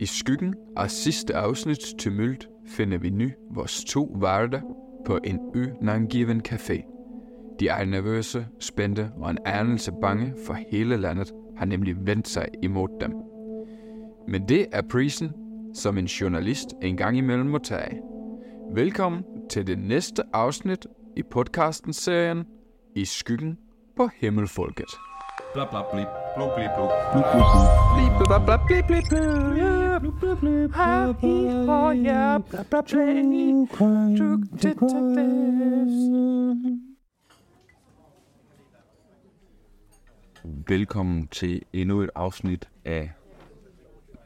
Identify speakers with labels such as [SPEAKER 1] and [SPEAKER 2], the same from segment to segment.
[SPEAKER 1] I skyggen af sidste afsnits tumult finder vi nu vores to værter på en ønangiven café. De er nervøse, spændte og en anelse bange, for hele landet har nemlig vendt sig imod dem. Men det er prisen, som en journalist engang imellem må tage. Velkommen til det næste afsnit i podcasten serien I skyggen på Himmelfolket.
[SPEAKER 2] Bla bla blip. Blub blip blub. Velkommen til endnu et afsnit af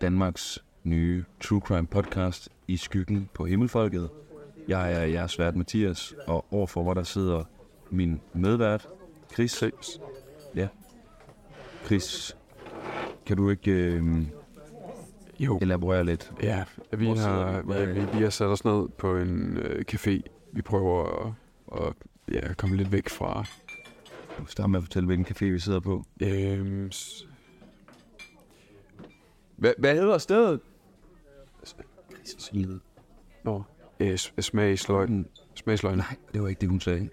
[SPEAKER 2] Danmarks nye True Crime podcast i skyggen på Himmelfolket. Jeg er jeres vært Mathias, og overfor mig der sidder min medvært, Chris. Ja. Chris, kan du ikke øh,
[SPEAKER 1] Jo,
[SPEAKER 2] elaborere lidt?
[SPEAKER 1] ja, vi
[SPEAKER 2] Hvor
[SPEAKER 1] har,
[SPEAKER 2] sidder vi?
[SPEAKER 1] vi, vi har sat os ned på en øh, café. Vi prøver at, at ja, komme lidt væk fra
[SPEAKER 2] Du starter med at fortælle, hvilken café vi sidder på.
[SPEAKER 1] Øhm... s- Hvad, hvad hedder stedet? Nå, øh, s- smagsløg. Smagsløg.
[SPEAKER 2] Nej, det var ikke det, hun sagde.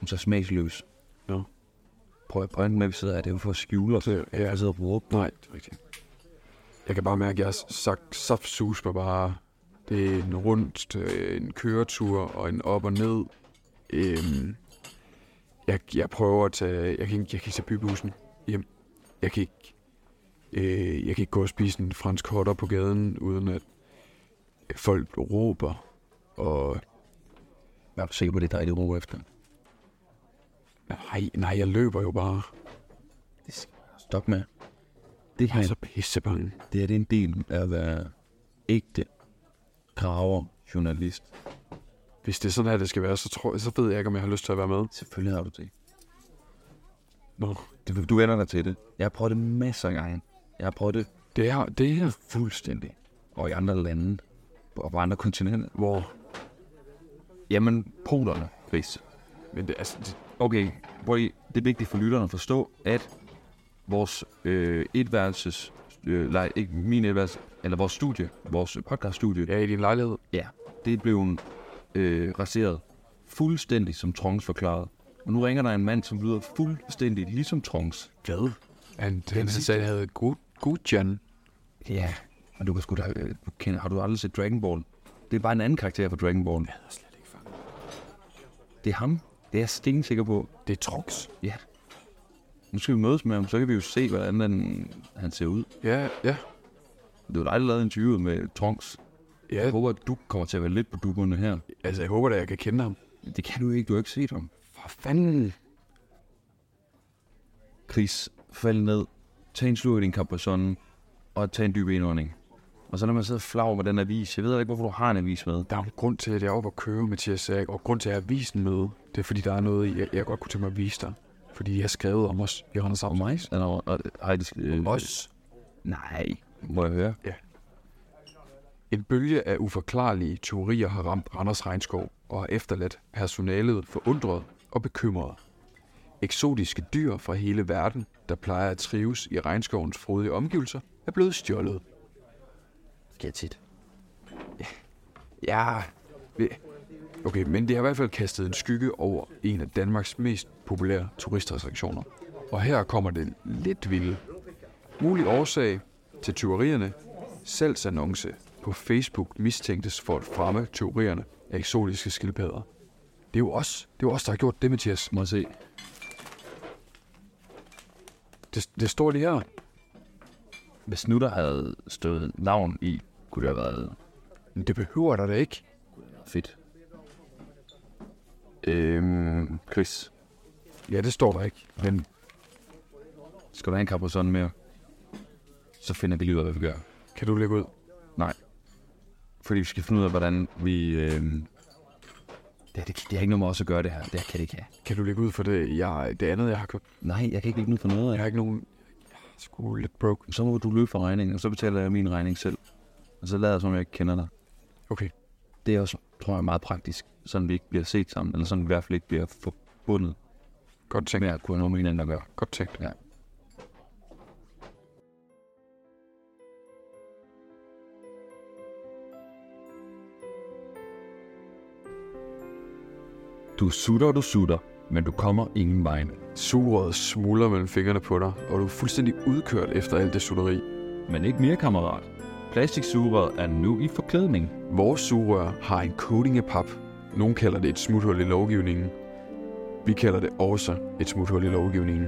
[SPEAKER 2] Hun sagde smagsløs.
[SPEAKER 1] Nå.
[SPEAKER 2] Prøv at brænde med, at vi sidder her. Det er jo for at skjule os.
[SPEAKER 1] Det- ja.
[SPEAKER 2] Jeg altså sidder og bruger op.
[SPEAKER 1] Nej, det er rigtigt. Jeg kan bare mærke, at jeg har sagt saftsus mig bare. Det er en rundt, øh, en køretur og en op og ned. Øhm, jeg, jeg prøver at tage... Jeg kan, ikke- jeg kan ikke tage bybussen hjem. Jeg kan ikke... Øh, jeg kan ikke gå og spise en fransk hotter på gaden, uden at folk råber. Og
[SPEAKER 2] Jeg er du sikker på, det er dig, det råber efter.
[SPEAKER 1] nej, nej, jeg løber jo bare.
[SPEAKER 2] Stop med. Det
[SPEAKER 1] Jeg
[SPEAKER 2] her,
[SPEAKER 1] er så pissebange.
[SPEAKER 2] det her det er en del af at være ægte graver journalist.
[SPEAKER 1] Hvis det er sådan her, det skal være, så, tror, så ved jeg ikke, om jeg har lyst til at være med.
[SPEAKER 2] Selvfølgelig har du det.
[SPEAKER 1] Nå.
[SPEAKER 2] det du vender dig til det. Jeg har prøvet det masser af gange. Jeg har prøvet det
[SPEAKER 1] Det her, det her,
[SPEAKER 2] fuldstændig. Og i andre lande. Og på andre kontinenter.
[SPEAKER 1] hvor...
[SPEAKER 2] Jamen, polerne, Chris.
[SPEAKER 1] Men det, altså, det,
[SPEAKER 2] Okay, prøv lige. Det er vigtigt for lytterne at forstå, at vores øh, etværelses... Øh, nej, ikke min etværelse, eller vores studie, vores podcaststudie,
[SPEAKER 1] ja, i din lejlighed.
[SPEAKER 2] ja. det blev en, øh, raseret fuldstændig som Trunks forklarede. Og nu ringer der en mand, som lyder fuldstændig ligesom Trunks.
[SPEAKER 1] Hvad? Han, han sagde, han havde god, Gudjan.
[SPEAKER 2] Ja, og du kan sgu da... Øh, du kender, har du aldrig set Dragon Ball? Det er bare en anden karakter fra Dragon Ball.
[SPEAKER 1] Jeg slet ikke fanget.
[SPEAKER 2] Det er ham. Det er jeg stensikker på.
[SPEAKER 1] Det er Trunks.
[SPEAKER 2] Ja. Nu skal vi mødes med ham, så kan vi jo se, hvordan den, han ser ud.
[SPEAKER 1] Ja, ja.
[SPEAKER 2] Det var dig, der lavede interviewet med Trunks. Jeg
[SPEAKER 1] Ja,
[SPEAKER 2] håber, at du kommer til at være lidt på dupperne her.
[SPEAKER 1] altså, jeg håber da, jeg kan kende ham.
[SPEAKER 2] Det kan du ikke, du har ikke set ham.
[SPEAKER 1] For fanden.
[SPEAKER 2] Chris, fald ned, tag en slur i din kapræsonen, og tag en dyb indånding. Og så når man sidder flag med den avis, jeg ved ikke, hvorfor du har en avis med.
[SPEAKER 1] Der er jo en grund til, at jeg er oppe at købe, Mathias Sack, og grund til, at jeg har vist en møde. Det er, fordi der er noget, jeg, jeg godt kunne tænke mig at vise dig. Fordi jeg har skrevet om os i Randers
[SPEAKER 2] Og
[SPEAKER 1] Amts.
[SPEAKER 2] mig? Eller, og, og, ej, det skal, øh,
[SPEAKER 1] Os.
[SPEAKER 2] Nej, må jeg høre.
[SPEAKER 1] En bølge af uforklarlige teorier har ramt Randers regnskov og har efterladt personalet forundret og bekymret. Eksotiske dyr fra hele verden, der plejer at trives i regnskovens frodige omgivelser, er blevet stjålet.
[SPEAKER 2] Get it.
[SPEAKER 1] Ja, vi- okay, men det har i hvert fald kastet en skygge over en af Danmarks mest populære turistattraktioner. Og her kommer den lidt vilde. Mulig årsag til tyverierne. Salgsannonce på Facebook mistænktes for at fremme tyverierne af eksotiske skildpadder. Det er jo os, det er jo os der har gjort det, Mathias.
[SPEAKER 2] Må jeg se.
[SPEAKER 1] Det, det står lige her.
[SPEAKER 2] Hvis nu der havde stået navn i, kunne det have været
[SPEAKER 1] Men det behøver der da ikke.
[SPEAKER 2] fedt. Øhm, Chris,
[SPEAKER 1] Ja, det står der ikke. Men
[SPEAKER 2] skal du have en kapræson mere? Så finder vi lige ud af, hvad vi gør.
[SPEAKER 1] kan du lægge ud?
[SPEAKER 2] Nej. Fordi vi skal finde ud af, hvordan vi... Øh... Det, det, det har ikke noget med os at gøre, det her. Det her kan det ikke have.
[SPEAKER 1] Kan du lægge ud for det, jeg, det andet, jeg har købt?
[SPEAKER 2] Nej, jeg kan ikke lægge noget for noget af
[SPEAKER 1] Jeg har ikke nogen... Jeg er sgu lidt broke.
[SPEAKER 2] Så må du løbe for regningen, og så betaler jeg min regning selv. Og så lader jeg, som om jeg ikke kender dig.
[SPEAKER 1] Okay.
[SPEAKER 2] Det er også, tror jeg, meget praktisk. Sådan vi ikke bliver set sammen, eller sådan vi i hvert fald ikke bliver forbundet
[SPEAKER 1] Godt tænkt.
[SPEAKER 2] med at kunne have noget med hinanden at gøre.
[SPEAKER 1] Godt tænkt.
[SPEAKER 2] Ja. Du sutter og du sutter, men du kommer ingen vegne.
[SPEAKER 1] Suret smuldrer mellem fingrene på dig, og du er fuldstændig udkørt efter alt det sutteri.
[SPEAKER 2] Men ikke mere, kammerat. Plastiksugerøret er nu i forklædning.
[SPEAKER 1] Vores sugerør har en coating af pap. Nogle kalder det et smuthul i lovgivningen. Vi kalder det også et smuthul i lovgivningen.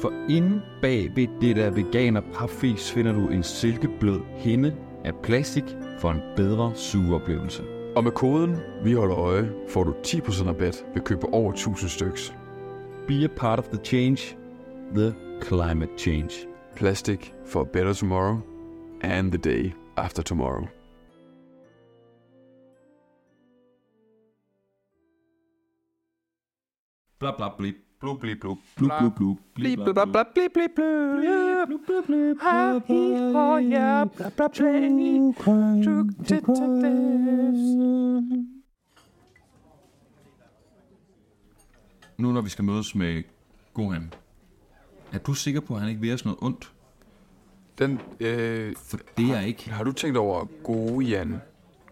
[SPEAKER 2] For inde bag ved det der veganer papfis finder du en silkeblød hinde af plastik for en bedre sugeoplevelse.
[SPEAKER 1] Og med koden Vi holder øje, får du 10% rabat ved køb på over 1000 styks.
[SPEAKER 2] Be a part of the change. The climate change.
[SPEAKER 1] Plastic for a better tomorrow and the day after tomorrow.
[SPEAKER 2] Bla bla blip. Blub blip blub. Blub blub blub. Blip blub blub. Nu når vi skal mødes med Gohan, er du sikker på, at han ikke vil os noget ondt?
[SPEAKER 1] Den, øh,
[SPEAKER 2] For det er jeg ikke.
[SPEAKER 1] har du tænkt over gode Jan?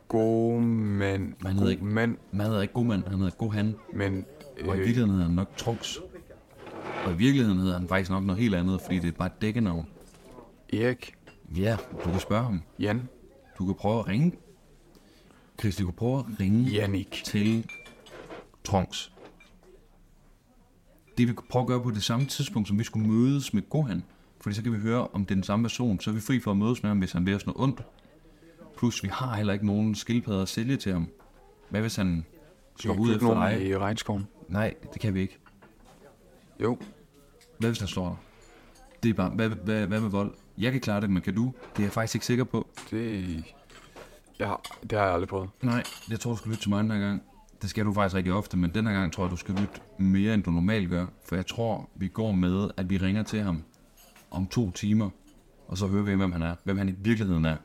[SPEAKER 1] God mand.
[SPEAKER 2] Man hedder ikke-
[SPEAKER 1] mand,
[SPEAKER 2] Man hedder ikke Goman, han hedder Gohan.
[SPEAKER 1] men...
[SPEAKER 2] Og i
[SPEAKER 1] Øh,
[SPEAKER 2] virkeligheden hedder han nok Trunks. Og i virkeligheden hedder han faktisk nok noget helt andet, fordi det er bare et dækkenavn.
[SPEAKER 1] Erik,
[SPEAKER 2] Ja, du kan spørge ham.
[SPEAKER 1] Jan,
[SPEAKER 2] Du kan prøve at ringe. Chris, du kan prøve at ringe
[SPEAKER 1] Jannik.
[SPEAKER 2] til Trunks. Det vi kan prøve at gøre på det samme tidspunkt, som vi skulle mødes med Gohan. Fordi så kan vi høre, om det er den samme person. Så er vi fri for at mødes med ham, hvis han vil os noget ondt. Plus, vi har heller ikke nogen skildpadder at sælge til ham. Hvad hvis han slår
[SPEAKER 1] Kan
[SPEAKER 2] ud
[SPEAKER 1] købe
[SPEAKER 2] efter
[SPEAKER 1] nogle
[SPEAKER 2] dig?
[SPEAKER 1] i regnskoven.
[SPEAKER 2] Nej, det kan vi ikke.
[SPEAKER 1] Jo,
[SPEAKER 2] Hvad hvis han slår dig? Det er bare, hvad, hvad, hvad med vold? Jeg kan klare det, men kan du? Det er jeg faktisk ikke sikker på.
[SPEAKER 1] det... Ja, det har jeg aldrig prøvet.
[SPEAKER 2] Nej, jeg tror, du skal lytte til mig den her gang. Det skal du faktisk rigtig ofte, men den her gang tror jeg, du skal lytte mere, end du normalt gør. For jeg tror, vi går med, at vi ringer til ham om to timer, og så hører vi, hvem han er. Hvem han i virkeligheden er.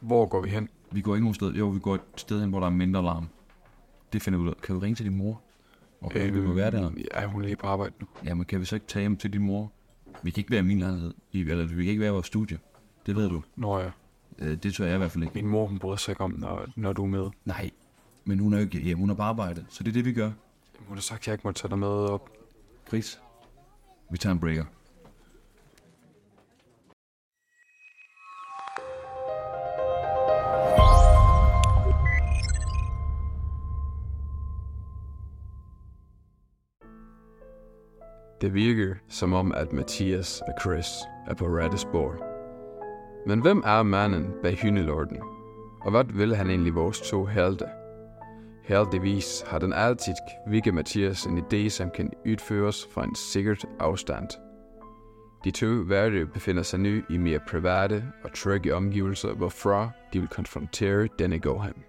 [SPEAKER 1] Hvor går vi hen?
[SPEAKER 2] Vi går ikke nogen sted. Jo, vi går et sted hen, hvor der er mindre larm. Det finder vi ud af. Kan du ringe til din mor? Okay, øh, vi må være der.
[SPEAKER 1] Ja, hun er lige på arbejde nu.
[SPEAKER 2] Jamen, kan vi så ikke tage hjem til din mor? Vi kan ikke være i min lejlighed. I- Eller vi kan ikke være i vores studie. Det ved du.
[SPEAKER 1] Nå ja,
[SPEAKER 2] Øh, det tør jeg i hvert fald ikke.
[SPEAKER 1] min mor hun bryder sig ikke om, når, når du er med.
[SPEAKER 2] Nej, men hun er jo ikke hjemme, hun er på arbejde, så det er det, vi gør.
[SPEAKER 1] Hun har sagt, at jeg ikke må tage dig med op.
[SPEAKER 2] Chris, vi tager en breaker.
[SPEAKER 1] Det virker som om, at Mathias og Chris er på Rattesborg. Men hvem er manden bag hyndelorden? Og hvad vil han egentlig vores to helte? Heldigvis har den altid kvikke Mathias en idé, som kan udføres fra en sikkert afstand. De to værte befinder sig nu i mere private og trygge omgivelser, hvorfra de vil konfrontere denne Gohan.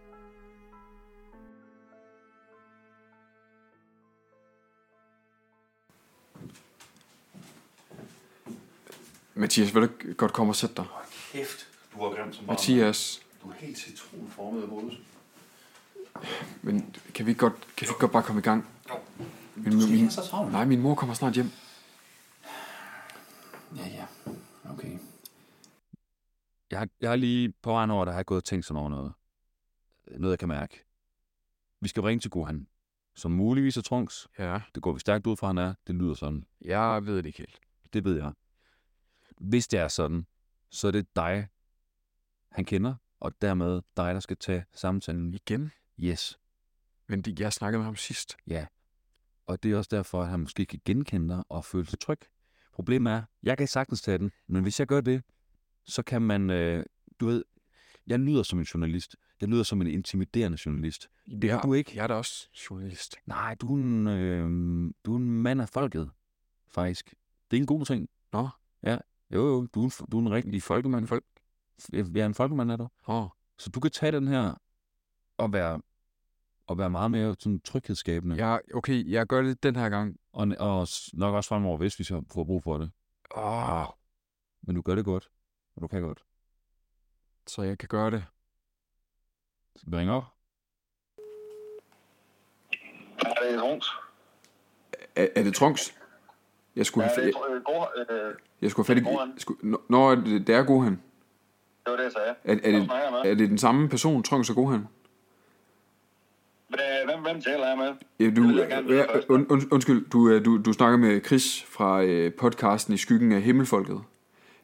[SPEAKER 1] Mathias, vil du godt komme og sætte dig?
[SPEAKER 3] Kæft, du var grim som barn.
[SPEAKER 1] Mathias,
[SPEAKER 3] Du er helt citronformet i hovedet.
[SPEAKER 1] Men kan vi ikke godt, kan vi ikke godt bare komme i gang? Min,
[SPEAKER 3] Du skal ikke have så travlt.
[SPEAKER 1] nej, min mor kommer snart hjem.
[SPEAKER 3] Ja, ja. Okay.
[SPEAKER 2] Jeg har, jeg har lige på vejen over, der har jeg gået og tænkt sådan over noget. Noget, jeg kan mærke. Vi skal ringe til Gohan, som muligvis er Trunks.
[SPEAKER 1] Ja,
[SPEAKER 2] Det går vi stærkt ud fra, han er. Det lyder sådan.
[SPEAKER 1] jeg ved det ikke helt.
[SPEAKER 2] Det ved jeg. Hvis det er sådan, så er det dig, han kender, og dermed dig, der skal tage samtalen.
[SPEAKER 1] Igen?
[SPEAKER 2] Yes.
[SPEAKER 1] Men det, jeg snakkede med ham sidst.
[SPEAKER 2] Og det er også derfor, at han måske kan genkende dig og føle sig tryg. Problemet er, jeg kan sagtens tage den, men hvis jeg gør det, så kan man, øh, du ved, jeg lyder som en journalist. Jeg lyder som en intimiderende journalist.
[SPEAKER 1] Det
[SPEAKER 2] Du er ikke?
[SPEAKER 1] Jeg er da også journalist.
[SPEAKER 2] Nej, du er en, øh, du er en mand af folket, faktisk. Det er en god ting.
[SPEAKER 1] Nå.
[SPEAKER 2] Ja, jo jo, du er en, du er en rigtig...
[SPEAKER 1] Folkemand folk.
[SPEAKER 2] Jeg er en folkemand af dig.
[SPEAKER 1] Åh,
[SPEAKER 2] Så du kan tage den her og være, og være meget mere sådan tryghedsskabende.
[SPEAKER 1] jeg, okay, jeg gør det den her gang.
[SPEAKER 2] Og, og s- nok også fremover, hvis vi så får brug for det.
[SPEAKER 1] Åh,
[SPEAKER 2] Men du gør det godt, og du kan godt.
[SPEAKER 1] så jeg kan gøre det.
[SPEAKER 2] Skal vi ringe op?
[SPEAKER 4] Er det Rons?
[SPEAKER 1] Er, er det Trunks? Jeg skulle
[SPEAKER 4] Ja,
[SPEAKER 1] have,
[SPEAKER 4] det
[SPEAKER 1] jeg,
[SPEAKER 4] er Gohan. Øh,
[SPEAKER 1] jeg skulle have fat i...
[SPEAKER 4] Gohan.
[SPEAKER 1] jeg Skulle, nå, nå, er det, det er Gohan.
[SPEAKER 4] det var det, jeg sagde.
[SPEAKER 1] Er, er,
[SPEAKER 4] Hvad
[SPEAKER 1] det,
[SPEAKER 4] snakker jeg med?
[SPEAKER 1] er det den samme person, Trunks og Gohan?
[SPEAKER 4] Hvad, hvem, hvem taler jeg med?
[SPEAKER 5] Ja, du,
[SPEAKER 4] Det vil jeg gerne vide
[SPEAKER 5] ja,
[SPEAKER 4] først.
[SPEAKER 5] und, und, undskyld, du, øh, du, du snakker med Chris fra øh, podcasten I Skyggen af Himmelfolket.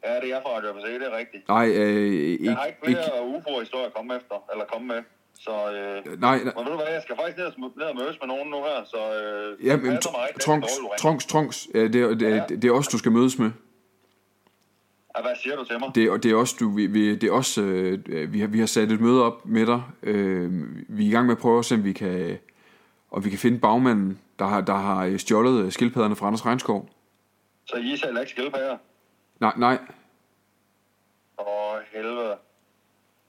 [SPEAKER 4] Ja, det er jeg fra Radio ABC, det er rigtigt.
[SPEAKER 5] Nej, øh, ikke,
[SPEAKER 4] Jeg har ikke
[SPEAKER 5] ikke,
[SPEAKER 4] flere UFO-historier at komme efter, eller komme med. Så, øh,
[SPEAKER 5] nej, nej.
[SPEAKER 4] men ved du hvad, jeg skal faktisk ned og, sm- ned og mødes med nogen nu her, så øh,
[SPEAKER 5] Ja,
[SPEAKER 4] det
[SPEAKER 5] men,
[SPEAKER 4] passer mig rigtig
[SPEAKER 5] trunks,
[SPEAKER 4] dårligt, Ulrik.
[SPEAKER 5] trunks, trunks, ja, det, er- det, er- det, er os, du skal mødes med.
[SPEAKER 4] Ja, hvad siger du til mig?
[SPEAKER 5] Det, og det er også, du, vi, vi, det er også øh, vi, har, vi har sat et møde op med dig. Øh, vi er i gang med at prøve at se, om vi kan, og vi kan finde bagmanden, der har, der har øh, stjålet øh, skildpadderne fra Anders Regnskov.
[SPEAKER 4] Så I sælger ikke skildpadder?
[SPEAKER 5] Nej, nej.
[SPEAKER 4] Åh, helvede.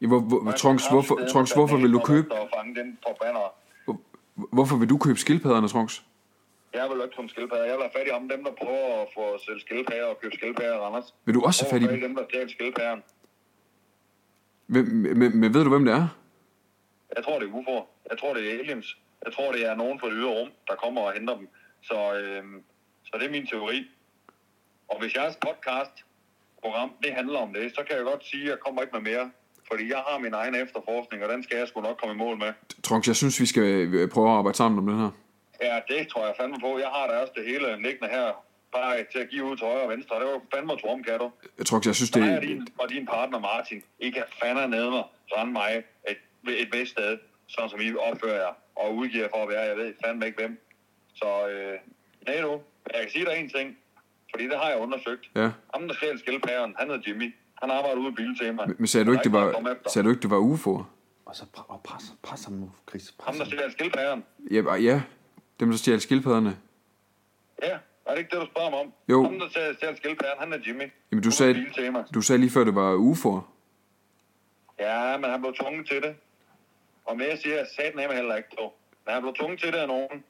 [SPEAKER 5] Ja, Hvor, hvor, Trunks, hvorfor, Trunks, hvorfor vil du købe,
[SPEAKER 4] Og fange den på banner.
[SPEAKER 5] hvorfor vil du købe skildpadderne, Trunks?
[SPEAKER 4] Jeg vil ikke som skildpadder. Jeg vil have fat i om dem, der prøver at få sælge skildpadder og købe skildpadder, Anders.
[SPEAKER 5] Vil du også have fat i
[SPEAKER 4] Prøv at
[SPEAKER 5] dem?
[SPEAKER 4] dem, der stjæler skildpadderen.
[SPEAKER 5] Hvem, men, men ved du, hvem det er?
[SPEAKER 4] Jeg tror, det er UFO'er. Jeg tror, det er aliens. Jeg tror, det er nogen fra det ydre rum, der kommer og henter dem. Så, øhm, så det er min teori. Og hvis jeres podcast program, det handler om det, så kan jeg godt sige, at jeg kommer ikke med mere. Fordi jeg har min egen efterforskning, og den skal jeg sgu nok komme i mål med.
[SPEAKER 5] Trunks, jeg synes, vi skal øh, prøve at arbejde sammen om den her.
[SPEAKER 4] Ja, det tror jeg fandme på. Jeg har da også det hele liggende her. Bare til at give ud til højre og venstre. Det var fandme tromkatter.
[SPEAKER 5] Trunks, jeg synes, det
[SPEAKER 4] Det... Dig
[SPEAKER 5] er...
[SPEAKER 4] og din, og din partner Martin, I kan fandme nede mig, rende mig et, et vist sted, sådan som I opfører jer og udgiver for at være. Jeg ved fandme ikke hvem. Så øh, nej du, jeg kan sige dig en ting, fordi det har jeg undersøgt.
[SPEAKER 5] Ja.
[SPEAKER 4] Ham, der stjal skildpadden, han hedder Jimmy. Han arbejder ude i Biltema.
[SPEAKER 5] Men sagde du ikke, det var, sagde du ikke, det var UFO'er?
[SPEAKER 3] Og så pre- og pres, pres ham nu, Chris.
[SPEAKER 4] Ham,
[SPEAKER 3] Pres
[SPEAKER 4] der
[SPEAKER 3] ham.
[SPEAKER 4] stjal skildpadden.
[SPEAKER 5] Ja, ja. dem, der stjal skildpadderne.
[SPEAKER 4] Ja, er det ikke det, du spørger mig om?
[SPEAKER 5] Jo.
[SPEAKER 4] Ham, der stjal- stjal skildpadden, han er Jimmy.
[SPEAKER 5] Jamen, du
[SPEAKER 4] Ude i
[SPEAKER 5] sagde,
[SPEAKER 4] Biltema.
[SPEAKER 5] du sagde lige før, det var UFO'er.
[SPEAKER 4] Ja, men han blev tvunget til det. Og mere siger jeg satan ham heller ikke på. Men han blev tvunget til det af nogen.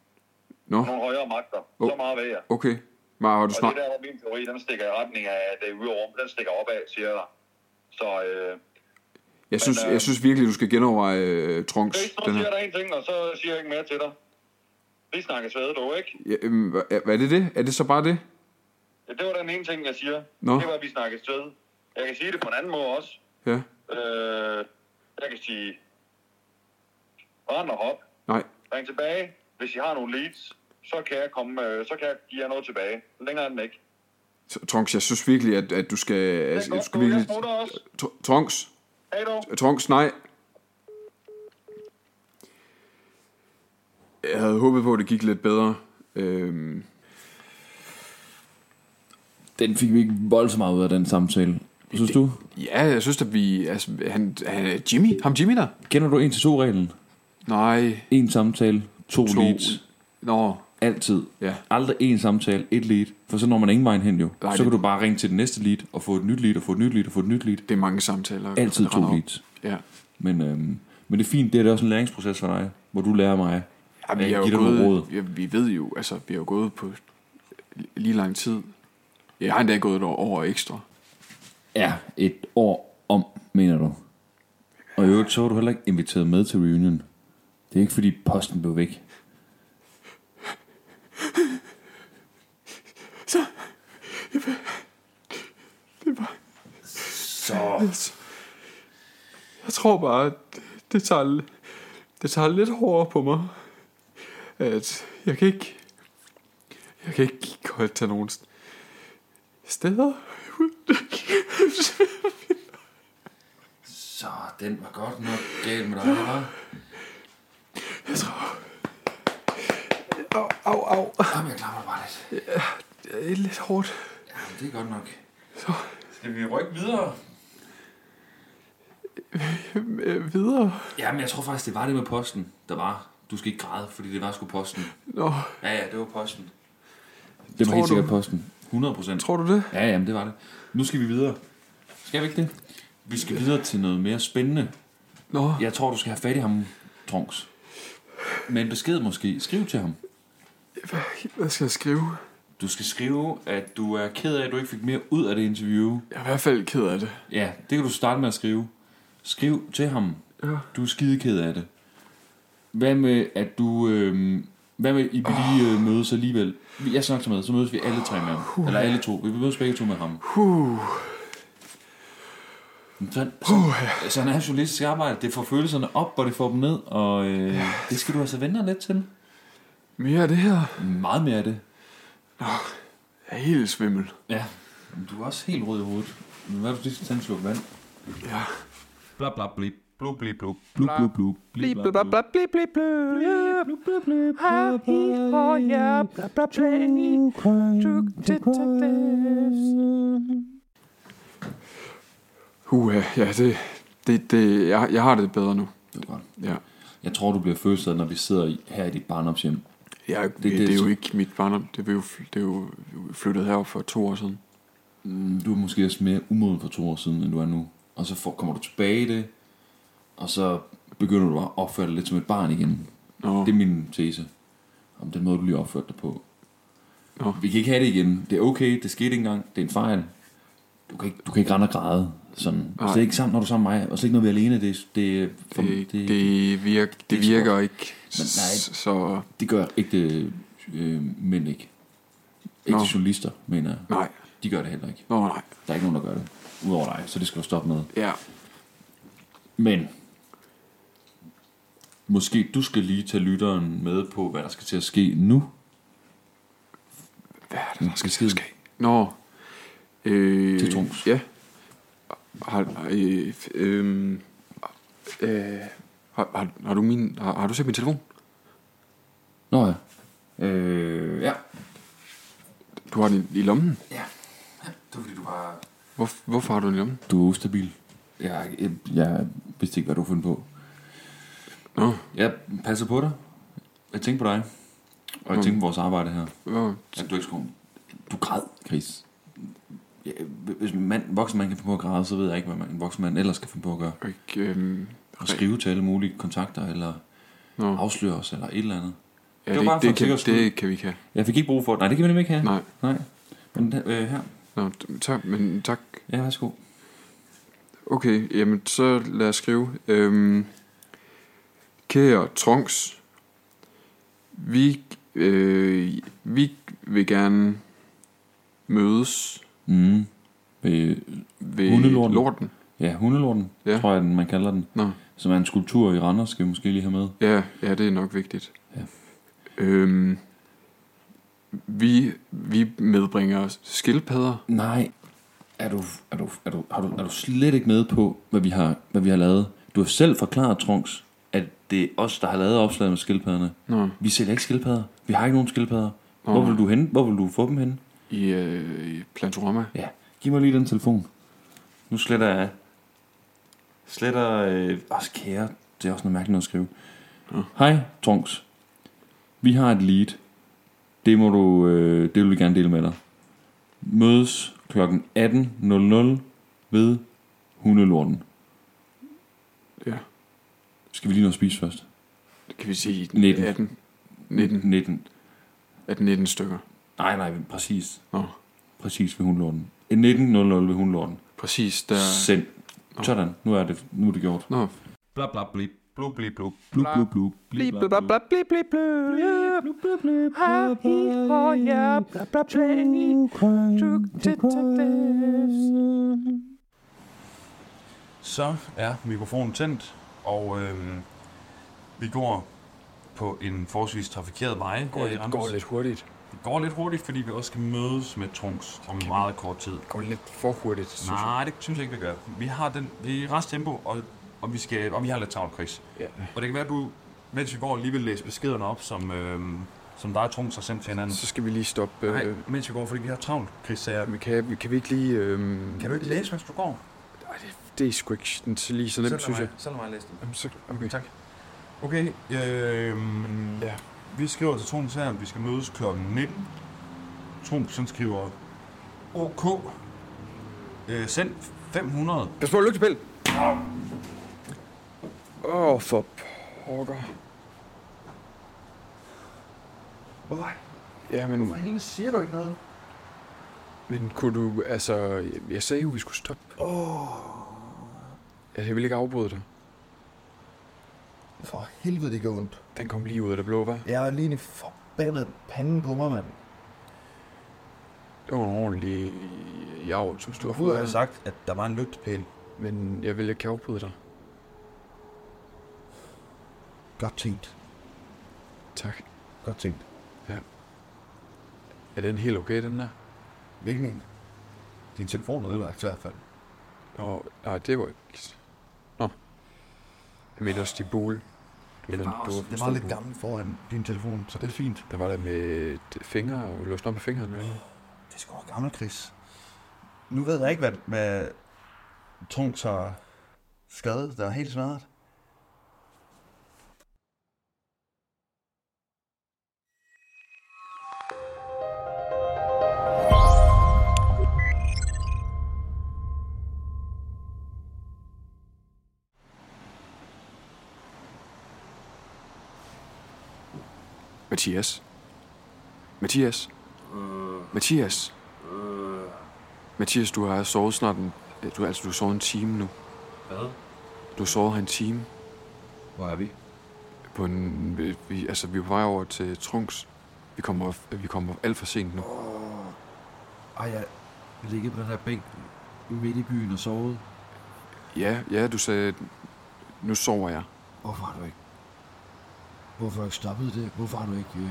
[SPEAKER 5] Nå.
[SPEAKER 4] Nogle højere magter. Så
[SPEAKER 5] Oh.
[SPEAKER 4] meget ved jeg.
[SPEAKER 5] Okay. Men har du
[SPEAKER 4] Og det
[SPEAKER 5] snakket...
[SPEAKER 4] der var min teori, den stikker i retning af det ude over, den stikker opad, siger jeg. dig. Så øh,
[SPEAKER 5] Jeg synes,
[SPEAKER 4] øh,
[SPEAKER 5] jeg synes virkelig, du skal genoverveje øh, Trunks.
[SPEAKER 4] Chris, nu
[SPEAKER 5] Den
[SPEAKER 4] siger
[SPEAKER 5] her.
[SPEAKER 4] der en ting, og så siger jeg ikke mere til dig. Vi snakker svede dog, ikke?
[SPEAKER 5] Ja, øhm, hva- hvad er det det? Er det så bare det?
[SPEAKER 4] Ja, det var den ene ting, jeg siger.
[SPEAKER 5] Nå.
[SPEAKER 4] Det var, at vi snakker svede. Jeg kan sige det på en anden måde også.
[SPEAKER 5] Ja.
[SPEAKER 4] Øh, jeg kan sige, rend og hop.
[SPEAKER 5] Nej.
[SPEAKER 4] Ring tilbage. Hvis I har nogle leads, så kan jeg, komme, øh, så kan jeg give jer noget tilbage. Længere end ikke.
[SPEAKER 5] Tr- Trunks, jeg synes virkelig, at, at du skal...
[SPEAKER 4] Det
[SPEAKER 5] Altså,
[SPEAKER 4] er
[SPEAKER 5] du
[SPEAKER 4] godt,
[SPEAKER 5] skal
[SPEAKER 4] du. Jeg
[SPEAKER 5] virkelig...
[SPEAKER 4] smutter også.
[SPEAKER 5] Tr- Trunks?
[SPEAKER 4] Hej dog.
[SPEAKER 5] Trunks, nej. Jeg havde håbet på, at det gik lidt bedre. Øhm,
[SPEAKER 6] Den fik vi ikke voldsomt meget ud af, den samtale. Synes du?
[SPEAKER 5] ja, jeg synes, at vi... Altså, han, han, Jimmy? Ham Jimmy der?
[SPEAKER 6] Kender du 1-2-reglen?
[SPEAKER 5] Nej.
[SPEAKER 6] En samtale, to,
[SPEAKER 5] To.
[SPEAKER 6] to leads.
[SPEAKER 5] Nå,
[SPEAKER 6] Altid.
[SPEAKER 5] Ja.
[SPEAKER 6] Aldrig en samtale, et lead. For så når man ingen vejen hen jo.
[SPEAKER 5] Nej,
[SPEAKER 6] så
[SPEAKER 5] det-
[SPEAKER 6] kan du bare ringe til den næste lead, og få et nyt lead, og få et nyt lead, og få et nyt lead.
[SPEAKER 5] det er mange samtaler.
[SPEAKER 6] Altid
[SPEAKER 5] der
[SPEAKER 6] to
[SPEAKER 5] render op.
[SPEAKER 6] leads.
[SPEAKER 5] Ja.
[SPEAKER 6] Men, øhm, men det er fint, det er da også en læringsproces for dig, hvor du lærer mig.
[SPEAKER 5] Ja,
[SPEAKER 6] at
[SPEAKER 5] vi, er
[SPEAKER 6] give
[SPEAKER 5] jo
[SPEAKER 6] dig nogle
[SPEAKER 5] gået, ja, vi ved jo, altså, vi har jo gået på lige lang tid. Jeg har endda gået et år over ekstra.
[SPEAKER 6] Ja, et år om, mener du. Og i øvrigt, så var du heller ikke inviteret med til reunion. Det er ikke fordi posten blev væk.
[SPEAKER 5] Altså, Jeg tror bare, at det tager, det tager lidt hårdere på mig. At jeg kan ikke... Jeg kan ikke godt tage nogen st- steder.
[SPEAKER 6] Så den var godt nok galt med dig, hva'?
[SPEAKER 5] Au, au, au.
[SPEAKER 6] Jamen, jeg klarer mig bare lidt.
[SPEAKER 5] Det er lidt hårdt.
[SPEAKER 6] Jamen, det er godt nok.
[SPEAKER 2] Skal vi rykke videre?
[SPEAKER 5] Øh, videre.
[SPEAKER 6] Jamen, jeg tror faktisk, det var det med posten, der var. Du skal ikke græde, fordi det var sgu posten.
[SPEAKER 5] Nå,
[SPEAKER 6] Ja, ja, det var posten. Det var
[SPEAKER 5] Tror
[SPEAKER 6] helt
[SPEAKER 5] du-
[SPEAKER 6] sikkert posten. 100 procent.
[SPEAKER 5] tror du det?
[SPEAKER 6] Ja, jamen, det var det. Nu skal vi videre. Skal vi ikke det? Vi skal videre til noget mere spændende.
[SPEAKER 5] Nå, ja.
[SPEAKER 6] Jeg tror, du skal have fat i ham, Trunks. Med en besked måske. Skriv til ham.
[SPEAKER 5] hvad skal jeg skrive?
[SPEAKER 6] Du skal skrive, at du er ked af, at du ikke fik mere ud af det interview.
[SPEAKER 5] Jeg er i hvert fald ked af det.
[SPEAKER 6] Ja, det kan du starte med at skrive. Skriv til ham.
[SPEAKER 5] Ja.
[SPEAKER 6] Du er skide ked af det. Hvad med, at du... Øh, hvad med, I vil lige øh, mødes alligevel? Vi- Jeg snakker med, så mødes vi alle tre med ham. Eller alle to. Vi mødes begge to med ham.
[SPEAKER 5] Puh.
[SPEAKER 6] Sådan, sådan, sådan er journalistisk arbejde. Det får følelserne op, og det får dem ned, og øh, det skal du altså vende dig lidt til.
[SPEAKER 5] Mere af det her.
[SPEAKER 6] Meget mere af det.
[SPEAKER 5] Jeg er helt svimmel.
[SPEAKER 6] Ja. Men Du er også helt rød i hovedet. Men hvad er du lige skal tage en sluk vand?
[SPEAKER 5] Ja.
[SPEAKER 6] Bla bla blip. Blub blip blub. Blub blub blub. Blip blub blub.
[SPEAKER 5] Uha, ja, det, det, det jeg, jeg har det bedre nu.
[SPEAKER 6] Det er godt.
[SPEAKER 5] Ja.
[SPEAKER 6] Jeg tror, du bliver følelser, når vi sidder i- her i dit barndomshjem.
[SPEAKER 5] Jeg, det, det,
[SPEAKER 6] det-
[SPEAKER 5] det, er jo ikke mit barndom. Det er jo, det er jo flyttet herop for to år siden.
[SPEAKER 6] Mm, Du er måske også mere umoden for to år siden, end du er nu. Og så får, kommer du tilbage i det, og så begynder du at opføre dig lidt som et barn igen.
[SPEAKER 5] Nå.
[SPEAKER 6] Det er min tese om den måde, du lige opførte dig på.
[SPEAKER 5] Nå.
[SPEAKER 6] Vi kan ikke have det igen. Det er okay, det skete ikke engang, det er en fejl. Du kan ikke, du kan ikke rende og græde. Sådan. Og
[SPEAKER 5] Nej.
[SPEAKER 6] slet ikke sammen, når du er sammen med mig, og slet ikke, når vi er alene. Det, er- det, er for,
[SPEAKER 5] Det,
[SPEAKER 6] det,
[SPEAKER 5] det, det, virk, det,
[SPEAKER 6] det er
[SPEAKER 5] virker ikke.
[SPEAKER 6] Men nej.
[SPEAKER 5] s- Så
[SPEAKER 6] det gør ægte øh, mænd ikke. Ægte
[SPEAKER 5] Nå.
[SPEAKER 6] journalister, mener jeg.
[SPEAKER 5] nej.
[SPEAKER 6] De gør det heller ikke.
[SPEAKER 5] Nå, nej.
[SPEAKER 6] Der er ikke nogen, der gør det. Udover dig, så det skal du stoppe med.
[SPEAKER 5] Ja.
[SPEAKER 6] Men måske du skal lige tage lytteren med på, hvad der skal til at ske nu.
[SPEAKER 5] Hvad er det, der skal
[SPEAKER 6] Beskeden.
[SPEAKER 5] ske? Nå. Øh,
[SPEAKER 6] Til Troels.
[SPEAKER 5] Ja. Har, øh, øh, øh, har, har, har, du min, har, har du set min telefon?
[SPEAKER 6] Nå ja. Øh, ja.
[SPEAKER 5] Du har den i, i lommen?
[SPEAKER 6] Ja. Det er fordi, du har...
[SPEAKER 5] Hvor, hvorfor har du den i lommen?
[SPEAKER 6] Du er ustabil. Jeg, jeg, jeg vidste ikke, hvad du har fundet på.
[SPEAKER 5] Nå,
[SPEAKER 6] Jeg passer på dig. Jeg tænker på dig. Og jeg tænker på vores arbejde her.
[SPEAKER 5] hvor,
[SPEAKER 6] At Mm. du ikke skulle... Du græd, Chris. Ja, hvis en mand, en voksen mand kan finde på at græde, så ved jeg ikke, hvad man, en voksen mand ellers kan finde på at gøre.
[SPEAKER 5] ikke, øh,
[SPEAKER 6] Og skrive til alle mulige kontakter, eller
[SPEAKER 5] Nå.
[SPEAKER 6] afsløre os, eller et eller andet.
[SPEAKER 5] ja,
[SPEAKER 6] var
[SPEAKER 5] det,
[SPEAKER 6] bare for en
[SPEAKER 5] det,
[SPEAKER 6] sikkerheds
[SPEAKER 5] kan,
[SPEAKER 6] skyld.
[SPEAKER 5] det kan vi ikke have.
[SPEAKER 6] Jeg fik ikke brug for det. Nej, det kan vi nemlig ikke have.
[SPEAKER 5] Nej.
[SPEAKER 6] Nej. Men der- øh, her.
[SPEAKER 5] Nå, tak, men tak.
[SPEAKER 6] Ja, værsgo.
[SPEAKER 5] Okay, jamen så lad os skrive. Øhm, kære Trunks, vi, øh, vi vil gerne mødes
[SPEAKER 6] Mm. Øh,
[SPEAKER 5] ved
[SPEAKER 6] Hundelorten.
[SPEAKER 5] lorten.
[SPEAKER 6] ja, hundelorten,
[SPEAKER 5] Ja.
[SPEAKER 6] ja. tror jeg, den, man kalder den.
[SPEAKER 5] Nå,
[SPEAKER 6] Som er en skulptur i Randers, skal vi måske lige have med.
[SPEAKER 5] ja, ja, det er nok vigtigt.
[SPEAKER 6] Ja.
[SPEAKER 5] Øhm, vi, vi medbringer skildpadder.
[SPEAKER 6] Nej, er du, er du, er du, har du, er du slet ikke med på, hvad vi har, hvad vi har lavet? Du har selv forklaret, Trunks, at det er os, der har lavet opslaget med skildpadderne.
[SPEAKER 5] Nå.
[SPEAKER 6] Vi sælger ikke skildpadder. Vi har ikke nogen skildpadder. Hvor vil du hen? Hvor vil du få dem hen?
[SPEAKER 5] i, øh, i Plantorama.
[SPEAKER 6] Ja, giv mig lige den telefon. Nu sletter jeg... Sletter... Øh, også kære, det er også noget mærkeligt noget at skrive. Hej, Trunks. Vi har et lead. Det må du... Øh, det vil vi gerne dele med dig. Mødes kl. 18.00 ved Hundelorten.
[SPEAKER 5] Ja.
[SPEAKER 6] Skal vi lige nå at spise først?
[SPEAKER 5] Kan vi sige
[SPEAKER 6] 19.
[SPEAKER 5] 18, 19,
[SPEAKER 6] 19.
[SPEAKER 5] 18, 19 stykker.
[SPEAKER 6] Nej, nej, præcis.
[SPEAKER 5] Nå,
[SPEAKER 6] Præcis ved Hundelorten. Eh, 19.00 ved Hundelorten.
[SPEAKER 5] præcis der...
[SPEAKER 6] Send. Sådan, nu er det, nu er det gjort.
[SPEAKER 5] Nå,
[SPEAKER 2] Bla bla blip. Blub blip blub.
[SPEAKER 6] Blub, blub, blub. Blip, blub, blub, blub,
[SPEAKER 2] Så er mikrofonen tændt, og øhm, vi går på en forholdsvis trafikeret vej. Går lidt, går lidt hurtigt. Det går lidt hurtigt, fordi vi også skal mødes med Trunks om meget kort tid.
[SPEAKER 1] Går lidt for hurtigt, synes
[SPEAKER 2] Nej, det synes jeg ikke, vi gør. Vi har den, vi er i rest tempo, og, og, vi skal, og vi har lidt travlt, Chris.
[SPEAKER 1] Ja.
[SPEAKER 2] Og det kan være, at du, mens vi går, lige vil læse beskederne op, som, øhm, som dig og Trunks har sendt til hinanden.
[SPEAKER 1] Så skal vi lige stoppe.
[SPEAKER 2] Nej,
[SPEAKER 1] Øh,
[SPEAKER 2] mens vi går, fordi vi har travlt, Chris sagde. jeg.
[SPEAKER 1] men kan, kan vi ikke lige... Øh,
[SPEAKER 2] Kan du ikke læse, mens du går?
[SPEAKER 1] Ej, det, det er sgu ikke sådan- så lige så nemt, synes jeg.
[SPEAKER 2] Selv mig læse dem.
[SPEAKER 1] Jamen, så, okay.
[SPEAKER 2] Tak. Okay, øh,
[SPEAKER 1] Ja.
[SPEAKER 2] ja. vi skriver til Troms her, at vi skal mødes kl. 19. Troms, han skriver, OK, øh, send 500.
[SPEAKER 1] Pas på, lygtepæl! Åh, oh, for pokker. Ja, men... Hvorfor
[SPEAKER 2] helvede
[SPEAKER 1] siger du ikke noget? Men kunne du... Altså, jeg, jeg sagde jo, vi skulle stoppe. Åh. Oh. Jeg ville ikke afbryde dig.
[SPEAKER 7] For helvede, det gør ondt.
[SPEAKER 1] Den kom lige ud af det blå, hva'?
[SPEAKER 7] Jeg har lige en forbandet pande på mig, mand.
[SPEAKER 1] Det var en ordentlig javl, synes du. altså.
[SPEAKER 2] Du har sagt, at der var en lygtepæl.
[SPEAKER 1] men jeg vil ikke afbryde dig.
[SPEAKER 7] Godt tænkt.
[SPEAKER 1] Tak.
[SPEAKER 7] Godt tænkt.
[SPEAKER 1] Er den helt okay, den der?
[SPEAKER 7] Hvilken en? Din telefon er ødelagt i hvert fald.
[SPEAKER 1] Nå, nej, det var ikke... Nå. Jeg mener også de bol. Du ved, den, du
[SPEAKER 7] Også, den var lidt gammel foran din telefon, så det er fint.
[SPEAKER 1] Der var der med et fingre, og låst op med fingeren. Eller?
[SPEAKER 7] Det er sgu da gammel, Chris. Nu ved jeg ikke, hvad, hvad Trunks har skadet. Der er helt smadret.
[SPEAKER 5] Mathias. Mathias.
[SPEAKER 2] Øh.
[SPEAKER 5] Mathias. Mathias, du har sovet snart en... Du, altså, du har sovet en time nu. Hvad? Du har sovet her en time.
[SPEAKER 2] Hvor er vi?
[SPEAKER 5] På en, vi- vi, altså, vi er på vej over til Trunks. Vi kommer, vi kommer alt for sent nu.
[SPEAKER 2] Ej, jeg ligger på den her bænk midt i byen og sovet.
[SPEAKER 5] Ja, ja, du sagde, nu sover jeg.
[SPEAKER 2] Hvorfor har du ikke... Hvorfor har du ikke stoppet det? Hvorfor har du ikke...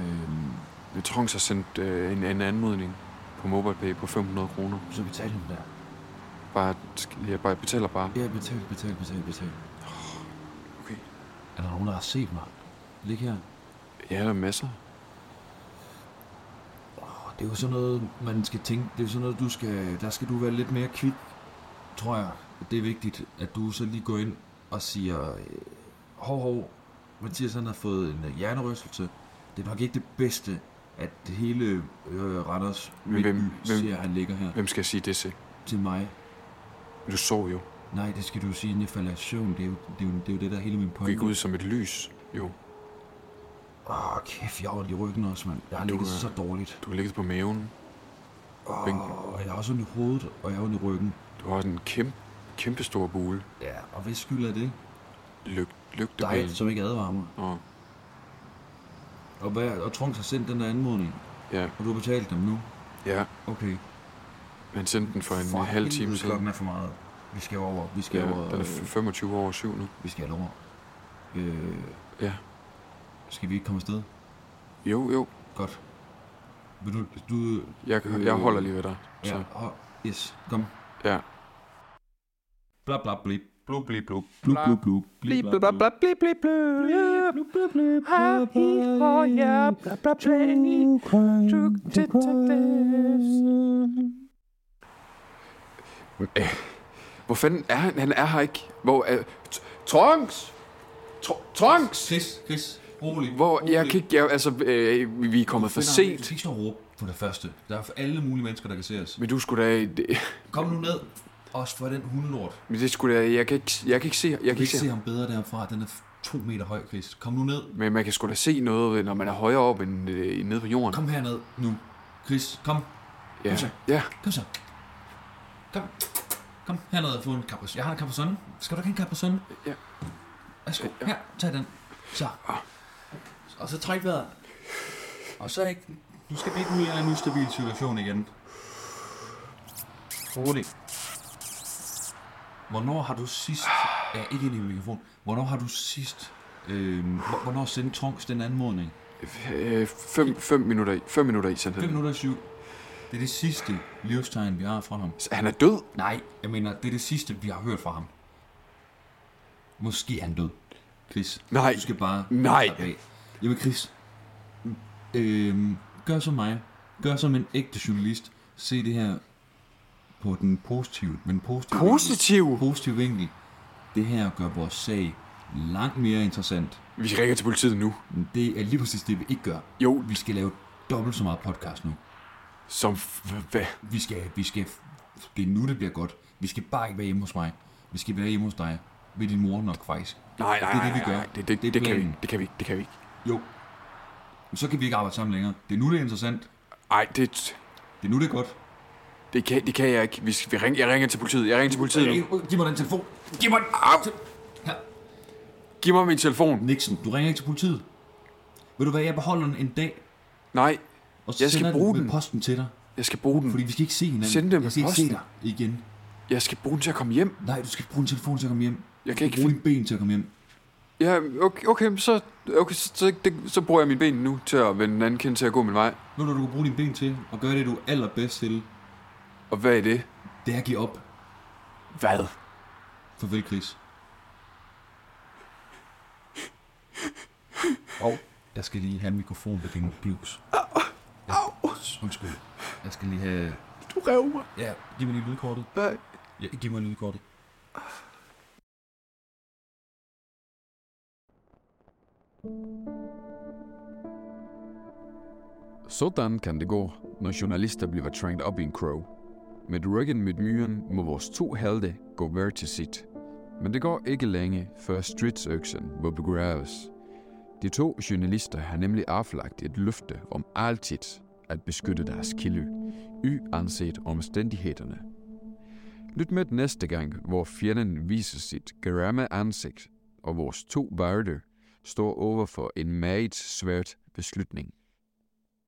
[SPEAKER 2] Øh...
[SPEAKER 5] Trunks har sendt øh, en, en anmodning på MobilePay på 500 kroner.
[SPEAKER 2] Så betal ham der.
[SPEAKER 5] Bare, jeg bare betaler bare.
[SPEAKER 2] Ja, betal, betal, betal, betal.
[SPEAKER 5] Oh, Okay.
[SPEAKER 2] Er der nogen, der har set mig? Lig her.
[SPEAKER 5] Ja, der er masser.
[SPEAKER 2] Og det er jo sådan noget, man skal tænke. Det er jo sådan noget, du skal... Der skal du være lidt mere kvik, tror jeg. Det er vigtigt, at du så lige går ind og siger... øh, Hov, hov. Mathias han har fået en øh, hjernerystelse. Det er nok ikke det bedste, at det hele øh, Randers
[SPEAKER 5] Men
[SPEAKER 2] midtby
[SPEAKER 5] hvem- hvem-
[SPEAKER 2] ser, at han ligger her
[SPEAKER 5] Hvem skal jeg sige det til?
[SPEAKER 2] til mig.
[SPEAKER 5] Du sov jo.
[SPEAKER 2] Nej, det skal du jo sige, inden jeg falder i søvn. Det er jo det, er jo, det, er jo det der er hele min
[SPEAKER 5] Du
[SPEAKER 2] pointe.
[SPEAKER 5] gik ud som et lys. Jo,
[SPEAKER 2] Åh, oh, kæft, jeg har ondt i ryggen også, mand. Jeg har ligget
[SPEAKER 5] er-
[SPEAKER 2] så dårligt.
[SPEAKER 5] du har ligget på maven. Bænken.
[SPEAKER 2] Og jeg har også ondt i hovedet, og jeg har ondt i ryggen.
[SPEAKER 5] Du har en kæmpe, kæmpe stor bule.
[SPEAKER 2] Ja, og hvis skyld er det?
[SPEAKER 5] Lyg,
[SPEAKER 2] Dig,
[SPEAKER 5] lygtepæl.
[SPEAKER 2] som ikke advarer mig.
[SPEAKER 5] Og,
[SPEAKER 2] Og, hvad, og Trunks har sendt den der anmodning,
[SPEAKER 5] ja,
[SPEAKER 2] og du har betalt dem nu.
[SPEAKER 5] ja,
[SPEAKER 2] Okay.
[SPEAKER 5] han sendte den for en halv time
[SPEAKER 2] siden. Klokken
[SPEAKER 5] siden.
[SPEAKER 2] er for meget. Vi skal over. Vi skal
[SPEAKER 5] Ja,
[SPEAKER 2] over.
[SPEAKER 5] den er
[SPEAKER 2] øh,
[SPEAKER 5] 25 over 7 nu.
[SPEAKER 2] vi skal over. Øh,
[SPEAKER 5] Ja.
[SPEAKER 2] skal vi ikke komme afsted?
[SPEAKER 5] Jo, jo,
[SPEAKER 2] Godt. Vil du, du
[SPEAKER 5] jeg, jeg holder lige ved dig.
[SPEAKER 2] ja,
[SPEAKER 5] Så,
[SPEAKER 2] og, yes, kom.
[SPEAKER 5] ja.
[SPEAKER 2] Bla bla blip.
[SPEAKER 6] Blub, blib, blub.
[SPEAKER 2] Blub blub blub.
[SPEAKER 8] Blip, blub, blub, blub, blip, blip, blip. Har I og jer, blub, blub, blub. True detectives.
[SPEAKER 5] Hvor fanden er han? Han er her ikke. Hvor er... Tr- Trunks! Tr- Trunks!
[SPEAKER 2] Chris, Chris, rolig.
[SPEAKER 5] Hvor jeg kan ikke... Jeg, altså, øh, vi er kommet for
[SPEAKER 2] Du
[SPEAKER 5] sent.
[SPEAKER 2] skal ikke stå og råbe for det første. Der er alle mulige mennesker, der kan se os.
[SPEAKER 5] Men du skulle da... Det,
[SPEAKER 2] Kom nu ned. Også for den hundelort.
[SPEAKER 5] men det skulle da... Jeg kan ikke, jeg kan ikke se... Jeg kan
[SPEAKER 2] Jeg kan
[SPEAKER 5] ikke se
[SPEAKER 2] ikke se ham bedre derfra. Den er f- to meter høj, Chris. Kom nu ned.
[SPEAKER 5] Men man kan sgu da se noget, når man er højere op end øh, nede på jorden.
[SPEAKER 2] Kom herned nu. Chris, kom.
[SPEAKER 5] ja.
[SPEAKER 2] så.
[SPEAKER 5] ja.
[SPEAKER 2] Kom så. Kom. Kom herned og få en kappes. Jeg har en kappesonne. Skal du ikke have en kappesonne?
[SPEAKER 5] Ja.
[SPEAKER 2] Værsgo. Her, tag den. Så. Og så træk vejret. Og så ikke... Nu skal vi ikke ud i en eller anden ustabil situation igen. Rolig. Hvornår har du sidst... Ja, ikke ind i mikrofon. Hvornår har du sidst... Øh, hvor- hvornår sendte Trunks den anmodning?
[SPEAKER 5] Øh, fem, fem, minutter i. Fem minutter i, sådan
[SPEAKER 2] 5
[SPEAKER 5] han.
[SPEAKER 2] minutter i syv. Det er det sidste livstegn, vi har fra ham.
[SPEAKER 5] Så Han er død.
[SPEAKER 2] Nej, jeg mener, det er det sidste, vi har hørt fra ham. Måske er han død. Chris,
[SPEAKER 5] Nej.
[SPEAKER 2] du skal bare...
[SPEAKER 5] Nej.
[SPEAKER 2] slappe af. Jamen Chris, øhm, gør som mig. Gør som en ægte journalist. Se det her på den positive, men positive
[SPEAKER 5] Positiv?
[SPEAKER 2] Vinkel. Positiv vinkel. Det her gør vores sag langt mere interessant.
[SPEAKER 5] Vi ringer til politiet nu.
[SPEAKER 2] Men det er lige præcis det, vi ikke gør.
[SPEAKER 5] Jo.
[SPEAKER 2] Vi skal lave dobbelt så meget podcast nu.
[SPEAKER 5] Som... f- Hvad?
[SPEAKER 2] Vi skal, vi skal, det er nu, det bliver godt. Vi skal bare ikke være hjemme hos mig. Vi skal være hjemme hos dig. Ved din mor nok, faktisk.
[SPEAKER 5] Nej, nej,
[SPEAKER 2] Det
[SPEAKER 5] nej,
[SPEAKER 2] er det, vi
[SPEAKER 5] nej,
[SPEAKER 2] gør.
[SPEAKER 5] nej. Det, det,
[SPEAKER 2] Det er
[SPEAKER 5] det, det kan vi
[SPEAKER 2] planen.
[SPEAKER 5] ikke. Det kan vi ikke. Det kan vi ikke.
[SPEAKER 2] Jo. Men så kan vi ikke arbejde sammen længere. Det er nu, det er interessant.
[SPEAKER 5] Ej, det,
[SPEAKER 2] Det er nu, det er godt.
[SPEAKER 5] det, kan, det kan jeg ikke. Vi skal, vi ring, jeg ringer til politiet. Jeg ringer til politiet nu.
[SPEAKER 2] Øh, Giv mig den telefon.
[SPEAKER 5] Giv mig... Au!
[SPEAKER 2] Her.
[SPEAKER 5] Giv mig min telefon.
[SPEAKER 2] Nixon, du ringer ikke til politiet. Ved du hvad, jeg beholder den en dag,
[SPEAKER 5] Nej,
[SPEAKER 2] og så
[SPEAKER 5] Jeg skal
[SPEAKER 2] sender
[SPEAKER 5] bruge
[SPEAKER 2] den med
[SPEAKER 5] den.
[SPEAKER 2] posten til dig.
[SPEAKER 5] jeg skal bruge den.
[SPEAKER 2] Fordi vi skal ikke se hinanden.
[SPEAKER 5] Send den med
[SPEAKER 2] jeg skal ikke se
[SPEAKER 5] posten.
[SPEAKER 2] dig igen.
[SPEAKER 5] Jeg skal bruge den til at komme hjem.
[SPEAKER 9] Nej, du skal ikke bruge en telefon til at komme hjem.
[SPEAKER 5] Jeg kan ikke
[SPEAKER 9] Brug
[SPEAKER 5] finde...
[SPEAKER 9] dine ben til at komme hjem.
[SPEAKER 5] Ja, okay, okay, så, okay så, så, det, så bruger jeg mine ben nu til at vende den anden kind til at gå min vej.
[SPEAKER 9] Ved du, du kan bruge dine ben til og gøre det, du er allerbedst til?
[SPEAKER 5] Og hvad er det?
[SPEAKER 9] Det er at give op.
[SPEAKER 5] Hvad?
[SPEAKER 9] Farvel, Chris.
[SPEAKER 2] Og jeg skal lige have en mikrofon ved din bius. Au! Undskyld. Jeg skal lige have...
[SPEAKER 5] Du rev mig.
[SPEAKER 2] Ja, giv mig lige lydkortet.
[SPEAKER 5] Nej.
[SPEAKER 2] Ja, giv mig lydkortet.
[SPEAKER 5] Sådan kan det gå, når journalister bliver trængt op i en crow. Med ryggen mod myren må vores to helte gå hver til sit. Men det går ikke længe, før stridsøksen må begraves. De to journalister har nemlig aflagt et løfte om altid at beskytte deres kilde, uanset omstændighederne. Lyt med næste gang, hvor fjenden viser sit geramme ansigt, og vores to værter står over for en meget svært beslutning.